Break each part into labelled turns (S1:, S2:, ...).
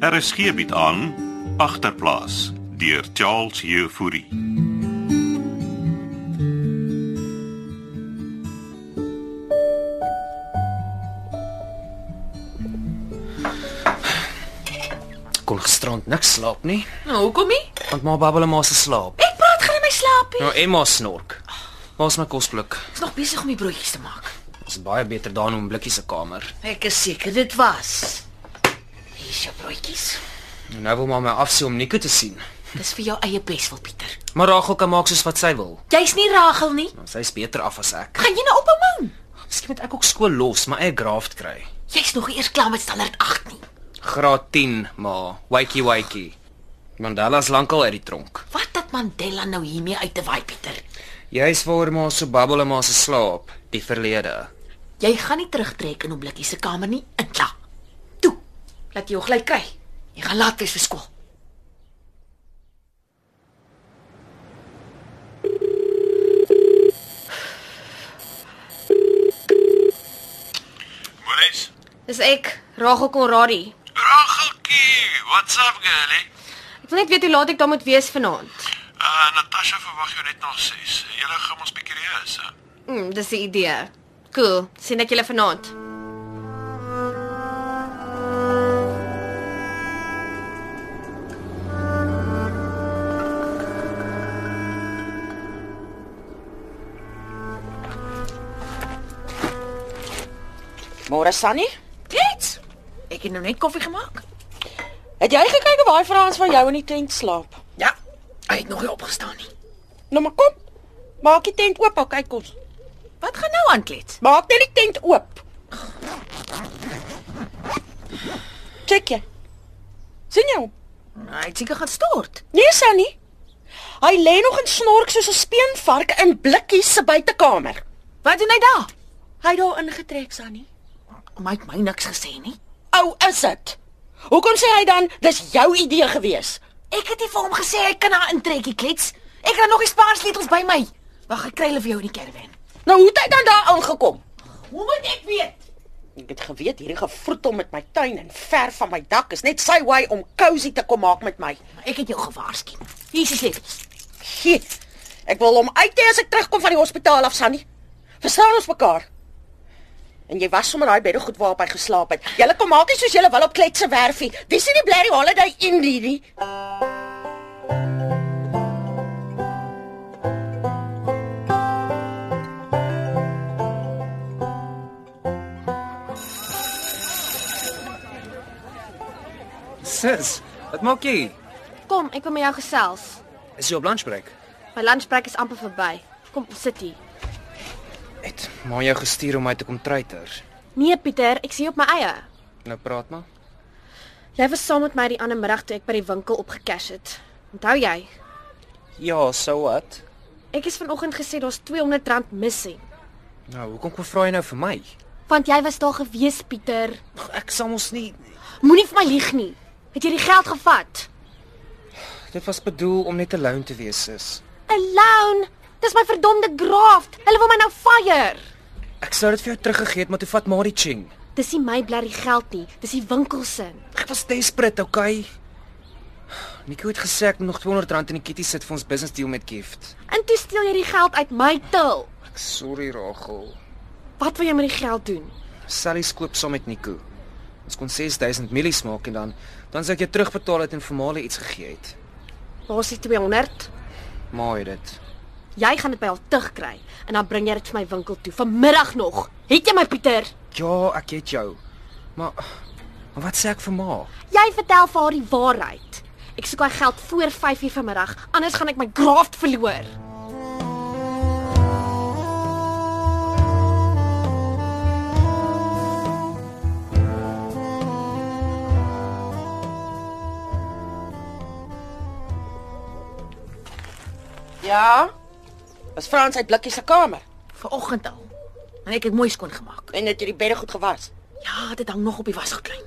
S1: Er is geebiet aan agterplaas deur Charles Jefouri.
S2: kon gisterand niks slaap nie,
S3: Nou, hoekom nie?
S2: want ma babbel en ma se slaap.
S3: Ek praat gaan in my slaapie.
S2: Nou Emma snork. Waar's my kosblik?
S3: Ek's nog besig om die broodjies te maak.
S2: Ons is baie beter daar in Blikkie se kamer.
S3: Ek is seker dit was. Hier's jou broodjies.
S2: En nou wil ma my afsie om Nico te sien.
S3: Dis vir jou eie beswil, Pieter.
S2: Maar Rachel kan maak soos wat sy wil.
S3: Jy's nie Ragel nie.
S2: Nou, Sy's beter af as ek.
S3: Gaan jy nou op 'n mou?
S2: Miskien moet ek ook skool los, maar eie graaf kry.
S3: Jy's nog nie eers klaar met standaard 8 nie.
S2: Graad 10, ma. Wakey wakey. Mandela's lankal uit die tronk.
S3: Wat dat Mandela nou hiermee uit te waai, Pieter.
S2: Jy's waar ma so babbel en ma se slaap, die verlede.
S3: Jy gaan nie terugtrek in Oblikkie se kamer nie, inkla. Toe. Laat jy jou gly kry. Jy gaan laat wees vir skool.
S4: Moelis.
S5: Dis ek, Rachel Conradi.
S4: Rageltjie, what's up girlie?
S5: Ek wil net weet hoe laat ek daar moet wees vanaand.
S4: Ah, uh, Natasha verwag jou net nog 6. Julle gaan ons bietjie reus. hè?
S5: Mm, dis 'n idee. Cool. Sien ek julle vanaand.
S6: Môre Sunny,
S3: Dit. Ek het nou net koffie gemaak.
S6: het jy gekyk of daai Frans van jou in die tent slaap?
S3: Ja. Hy het nog nie opgestaan nie.
S6: Nou maar kom. Maak die tent oop, al kyk ons.
S3: Wat gaan nou aan klets?
S6: Maak net die tent oop. Kyk jy. Sien jy hom?
S3: Hy het seker gaan stort.
S6: Nee Sunny. Hy lê nog en snork soos 'n speenvark in blikkies se buitekamer.
S3: Wat doen hy daar?
S6: Hy het daar ingetrek Sunny.
S3: Maar hy het my niks gesê nie.
S6: Ou is dit. Hoekom sê hy dan dis jou idee gewees?
S3: Ek het nie vir hom gesê hy kan haar intrekkie klets. Ek het dan nog die spaarsleutels by my. Wag, ek kry hulle vir jou in die caravan.
S6: Nou hoe het hy dan daar aangekom?
S3: Hoe moet ek weet?
S6: Ek het geweet hierdie gevroetel met my tuin en ver van my dak is net sy way om cosy te kom maak met my.
S3: Ek het jou gewaarsku. Hier is die sleutels.
S6: Gee. Ek wil hom uit hê as ek terugkom van die hospitaal af, Sunny. Verstaan ons mekaar? En jy was sommer daai beddegoed waarop hy geslaap het. Julle kom maak nie soos julle wil op kletse werfie. Dis nie die Blerry Holiday Inn nie. nie.
S2: Sis, wat maak jy?
S5: Kom, ek wil met jou gesels.
S2: Is jy op lunchbreek?
S5: My lunchbreek is amper verby. Kom, ons sit hier.
S2: Het ma jou gestuur om my te kom treiter.
S5: Nee, Pieter, ek sien op my eie.
S2: Nou praat maar.
S5: Jy was saam met my die ander middag toe ek by die winkel opgekash het. Onthou jy?
S2: Ja, so wat?
S5: Ek is vanoggend gesê daar's R200 missing.
S2: Nou, hoekom kom vra jy nou vir my?
S5: Want jy was daar gewees, Pieter.
S2: Ek sal mos nie
S5: Moenie vir my lieg nie. Het jy die geld gevat?
S2: Dit was bedoel om net alone te wees, sis.
S5: Alone. Dis my verdomde graft. Hulle wil my nou fire.
S2: Ek sou dit vir jou teruggegee het, maar toe vat maar die ching.
S5: Dis nie my blerrie geld nie, dis die winkel se.
S2: Ek was desperate, okay? Nico het gesê ek moet nog R200 in die kitty sit vir ons business deal met gift.
S5: En toe steel jy die geld uit my til.
S2: Ek sorry, Rachel.
S5: Wat wil jy met die geld doen?
S2: Sally skoop saam met Nico. Ons kon 6000 milies maak en dan dan sou ek jou terugbetaal het en formale iets gegee het.
S5: Daar's die 200.
S2: Maar het dit.
S5: Jy gaan dit by haar terugkry en dan bring jy dit vir my winkel toe vanmiddag nog. Het jy my Pieter?
S2: Ja, ek het jou. Maar maar wat sê ek vir ma?
S5: Jy vertel vir haar die waarheid. Ek soek daai geld voor 5:00 vanmiddag, anders gaan ek my graft verloor.
S6: Ja. Was Frans uit blikkies se kamer
S3: Vanoggend al. En ek het mooi skoon gemaak.
S6: en het jy die bedde goed gewas.
S3: Ja, dit hang nog op die wasgoedlyn.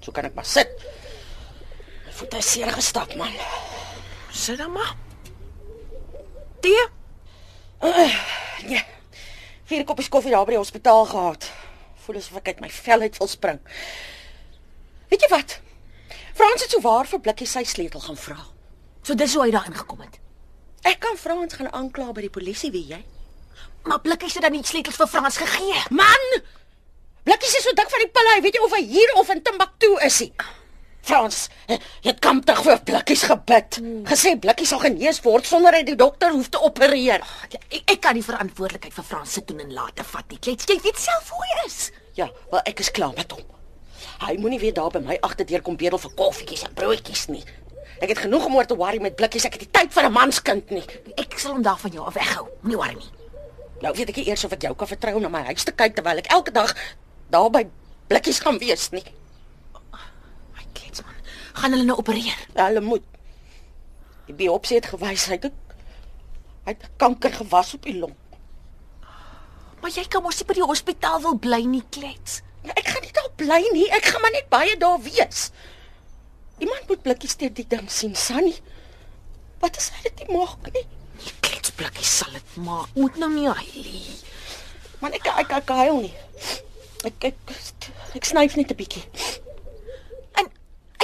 S6: So kan ek maar sit. My voete is seer gestap, man.
S3: Sit dan maar. Tee?
S6: Nee. Vier koppies koffie daar by die hospitaal gehad. Voel asof ek uit my vel uit wil spring. Weet jy wat? Frans het souwaar vir blikkie sy sleutel gaan vra.
S3: So dis hoe hy daar ingekom het.
S6: Ek kan Frans gaan aankla by die polisie, weet jy?
S3: Maar blikkies het dan nie sleutels vir Frans gegee.
S6: Man! Blikkies is so dik van die pille, hy weet nie of hy hier of in Timbuktu is nie. Frans, eh, jy het kamptig vir blikkies gebid.
S3: Hmm.
S6: Gesê blikkies sal genees word sonder hy die dokter hoef te opereer.
S3: Ek, ek kan nie verantwoordelikheid vir Frans se doen en late vat nie. Klets, jy weet self hoe hy is.
S6: Ja, wel ek is klaar met hom. Hy moenie weer daar by my agterdeur kom bedel vir koffietjies en broodjies nie. Ek het genoeg om oor te worry met blikkies. Ek het nie tyd vir 'n manskind nie.
S3: Ek sal hom daarvan jou af weghou. Moenie worry nie.
S6: Nou weet ek nie eers of ek jou kan vertrou om na my huis te kyk terwyl ek elke dag daar by blikkies gaan wees nie.
S3: Ai klets man. Gaan hulle nou opereer?
S6: Hulle moet. Die biopsie het gewys hy het hy het kanker gewas op die long.
S3: Maar jy kan mos nie by die hospitaal wil bly nie, klets.
S6: Maar Ja, Ek gaan nie daar bly nie. Ek gaan maar net baie daar wees. Iemand moet blikkies deur die ding sien, Sunny. Wat as hy dit nie maak nee? nie?
S3: Die klets blikkies sal dit maak. Moet nou nie huilie.
S6: Man ek ek ek huil nie. Ek ek ek snyf net 'n bietjie.
S3: En,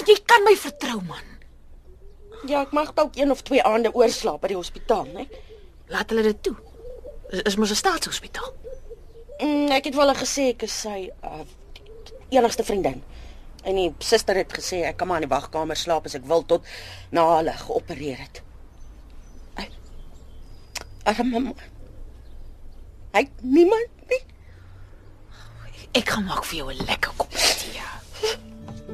S3: en jy kan my vertrou man.
S6: Ja, ek mag dalk een of twee aande oorslaap by die hospitaal, nee? né?
S3: Laat hulle dit toe. Is, is mos 'n staatshospitaal.
S6: Mm, ek het wel gesê ek is sy uh, enigste vriendin. En die suster het gesê ek kan maar in die wagkamer slaap as ek wil tot na hulle geopereer het. Ai, Arme man. Hy het niemand nie.
S3: Ek gaan maak vir jou 'n lekker koppie tee.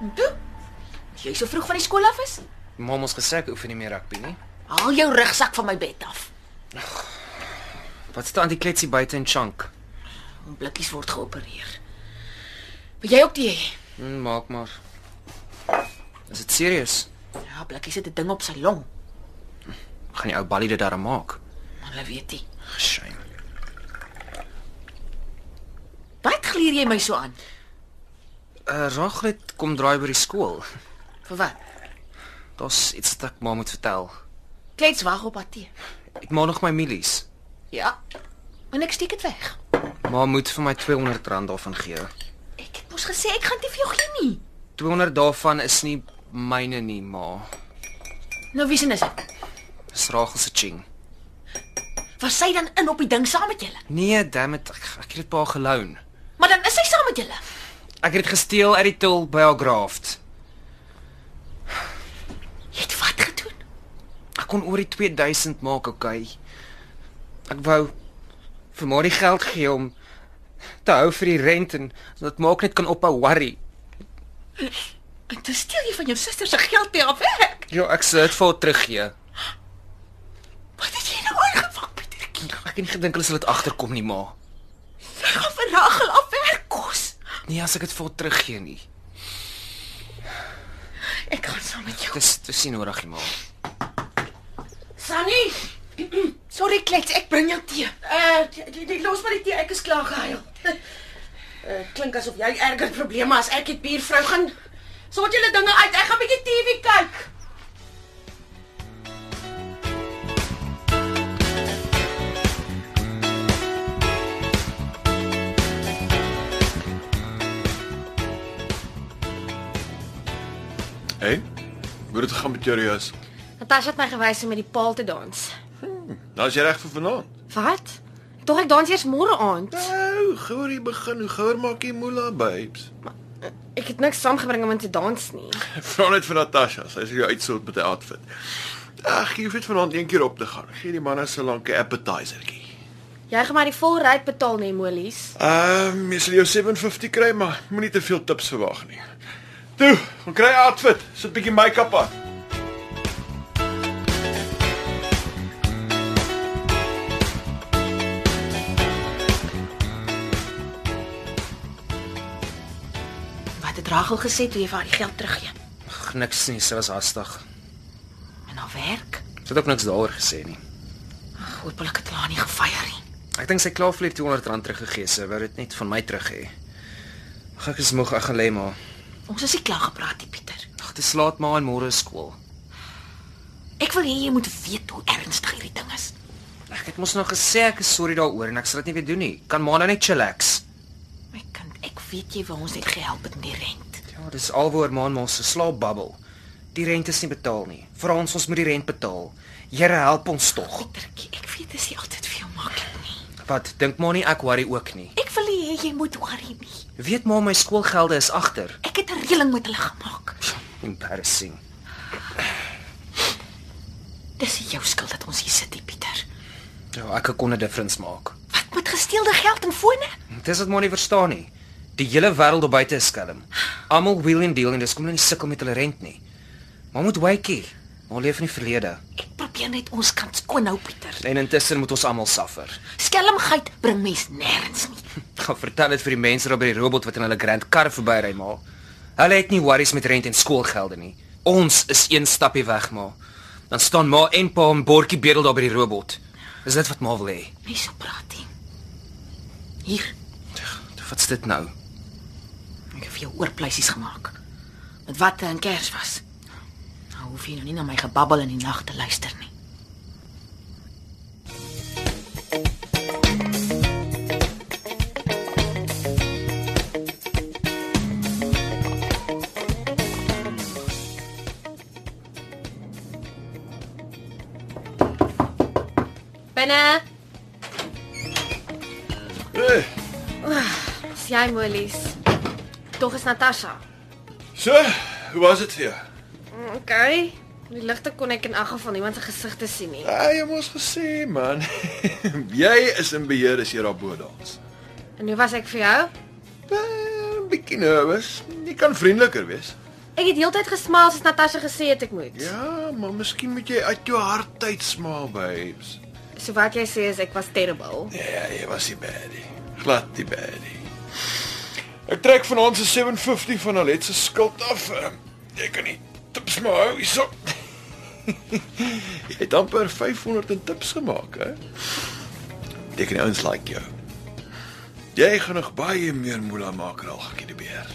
S3: En toe? As Jy so vroeg van die skool af is?
S2: Mam ons gesê ek oefen nie meer rugby nie.
S3: Haal jou rugsak van my bed af.
S2: Wat staan die kletsie buite in chunk?
S3: Om blikkies word geopereer. Wil jy ook die hê?
S2: Hm, maak maar. Is dit serieus?
S3: Ja, blikkies het 'n ding op sy long.
S2: Gaan die ou balie dit daar maak?
S3: Maar hulle weet nie.
S2: Shame.
S3: Wat gluur jy my so aan?
S2: Uh, Raglet kom draai by die skool.
S3: Vir wat?
S2: Daar's iets wat ek maar moet vertel.
S3: Klets wag op haar tee.
S2: Ek maak nog my milies.
S3: Ja. Maar ek steek dit weg.
S2: Ma moet vir my R200 daarvan gee.
S3: Ek het mos gesê ek gaan dit nie vir jou gee nie.
S2: 200 daarvan is nie myne nie, ma.
S3: Nou wie sien is dit?
S2: Dis Ragel se ching.
S3: Was sy dan in op die ding saam met julle?
S2: Nee, damn it, ek, ek het dit pa geloon.
S3: Maar dan is sy saam met julle.
S2: Ek het dit gesteel uit die til by haar graft.
S3: Jy het wat gedoen?
S2: Ek kon oor die 2000 maak, okay. Ek wou vir maar die geld gee om te hou vir die rent en dat maak net kan ophou worry.
S3: En toe steel jy van jou suster se geld te af weg.
S2: Ja, ek sê dit vir haar teruggee.
S3: Wat het jy nou aangevang, Pietertjie?
S2: Ek het nie gedink hulle sal dit agterkom nie, ma.
S3: Jy gaan vir Ragel af werk kos.
S2: Nee, as ek dit vir haar teruggee nie.
S3: Ek gaan saam met jou.
S2: Dis dis nie nodig nie, ma.
S3: Sunny. Sorry klets, ek bring jou tee.
S6: Uh, die, die, die los maar die tee, ek is klaar gehuil. Uh, klink asof jy erger probleme as ek het, buurvrou. Gaan sort julle dinge uit. Ek gaan bietjie TV kyk.
S4: Hé? Hey, hoe het dit gegaan met jou reus?
S5: Natasha het my gewys om met die paal te dans.
S4: Nou is jy reg vir vanaand.
S5: Wat? Tog ek dans eers môre aand.
S4: Nou, gouer hier begin. Hoe gouer maak jy moela, babes?
S5: Ek het niks saamgebring om in te dans nie.
S4: Vra net vir Natasha, sy sal jou uitsort met 'n outfit. Ag, jy hoef net vanaand een keer op te gaan. Gee die manne so lank 'n appetizertjie.
S5: Jy gaan my die vol ryd betaal nie, Molies.
S4: Ehm, jy sal jou 750 kry, maar moenie te veel tips verwag nie. Toe, gaan kry 'n outfit. Sit 'n bietjie make-up aan.
S3: Wat het Ragel gesê toe jy vir haar die geld teruggee?
S2: Ag, niks nie, sy was hastig.
S3: En haar werk?
S2: Sy het ook niks daaroor gesê nie.
S3: Ag, hopelik het hulle haar nie gefeier nie.
S2: Ek dink sy het klaar vir die R200 teruggegee, sy wou dit net van my terug hê. Ek is moeg, ek gaan lê maar.
S3: Ons is nie klaar gepraat nie, Pieter.
S2: Ag, dit slaat maar en môre is skool.
S3: Ek wil hê jy moet weet hoe ernstig hierdie ding is.
S2: Ek het mos nog gesê ek is sorry daaroor en ek sal dit nie weer doen nie. Kan maar nou net chillax.
S3: My kind, ek weet jy wou ons net gehelp het met die rent.
S2: Ja, dis alwaar maan mos se slaapbubbel. Die rente is nie betaal nie. Vra ons ons moet die rent betaal. Here help ons tog.
S3: Pietertjie, ek weet dit is nie altyd vir jou maklik nie.
S2: Wat, dink maar nie ek worry ook nie.
S3: Ek wil nie hê jy moet worry nie.
S2: Weet maar my skoolgelde is agter.
S3: Ek het 'n reëling met hulle gemaak.
S2: Embarrassing.
S3: Dis nie jou skuld dat ons hier sit, nie, Pieter.
S2: Ja, ek kon 'n difference maak.
S3: Wat met gesteelde geld en fone?
S2: Dis wat maar nie verstaan nie. Die hele wêreld daar buite is skelm. Almal wheel en deal en dis kom hulle nie sukkel met hulle rent nie. Maar moet wykie. Ons leef in die verlede
S3: Ek probeer net ons kant skoon hou, Pieter.
S2: en intussen moet ons almal suffer.
S3: Skelmgeit bring mens nêrens nie.
S2: Gaan vertel dit vir die mense daar by die robot wat in hulle grand kar verbyry maar. Hulle het nie worries met rent en skoolgelde nie. Ons is een stappie weg maar. Dan staan ma en pa 'n bordjie bedel daar by die robot. Is dit wat ma wil hê?
S3: Nie so praat nie. Hier,
S2: Wat's dit nou?
S3: ek het vir jou oorpleisies gemaak. Met watte en kers was. Nou hoef jy nou nie na my gebabbel in die nag te luister nie.
S5: Binne.
S4: Eh,
S5: Dis jy molies. Tog is Natasha.
S4: so, hoe was dit vir jou?
S5: Okay. Die ligte kon ek in elk geval niemand se gesig te sien nie.
S4: Ah, jy moes gesê, man. jy is in beheer as jy daar bo dans.
S5: En hoe was ek vir jou?
S4: Eh, Bietjie nervous. Jy kan vriendeliker wees.
S5: Ek het heeltyd gesmaal soos Natasha gesê het ek moet.
S4: Ja, maar miskien moet jy uit jou hart tyd smaal, babes.
S5: So wat jy sê is ek was terrible.
S4: Ja, jy was die baddie. Glad die baddie. Ek trek vanaand se 750 van Alet se skuld af. Ehm, Jy kan nie tips maar hou hierso. jy het amper 500 in tips gemaak, hè? Jy kan ons like jou. Jy gaan nog baie meer moela maak en al gekkie die beer.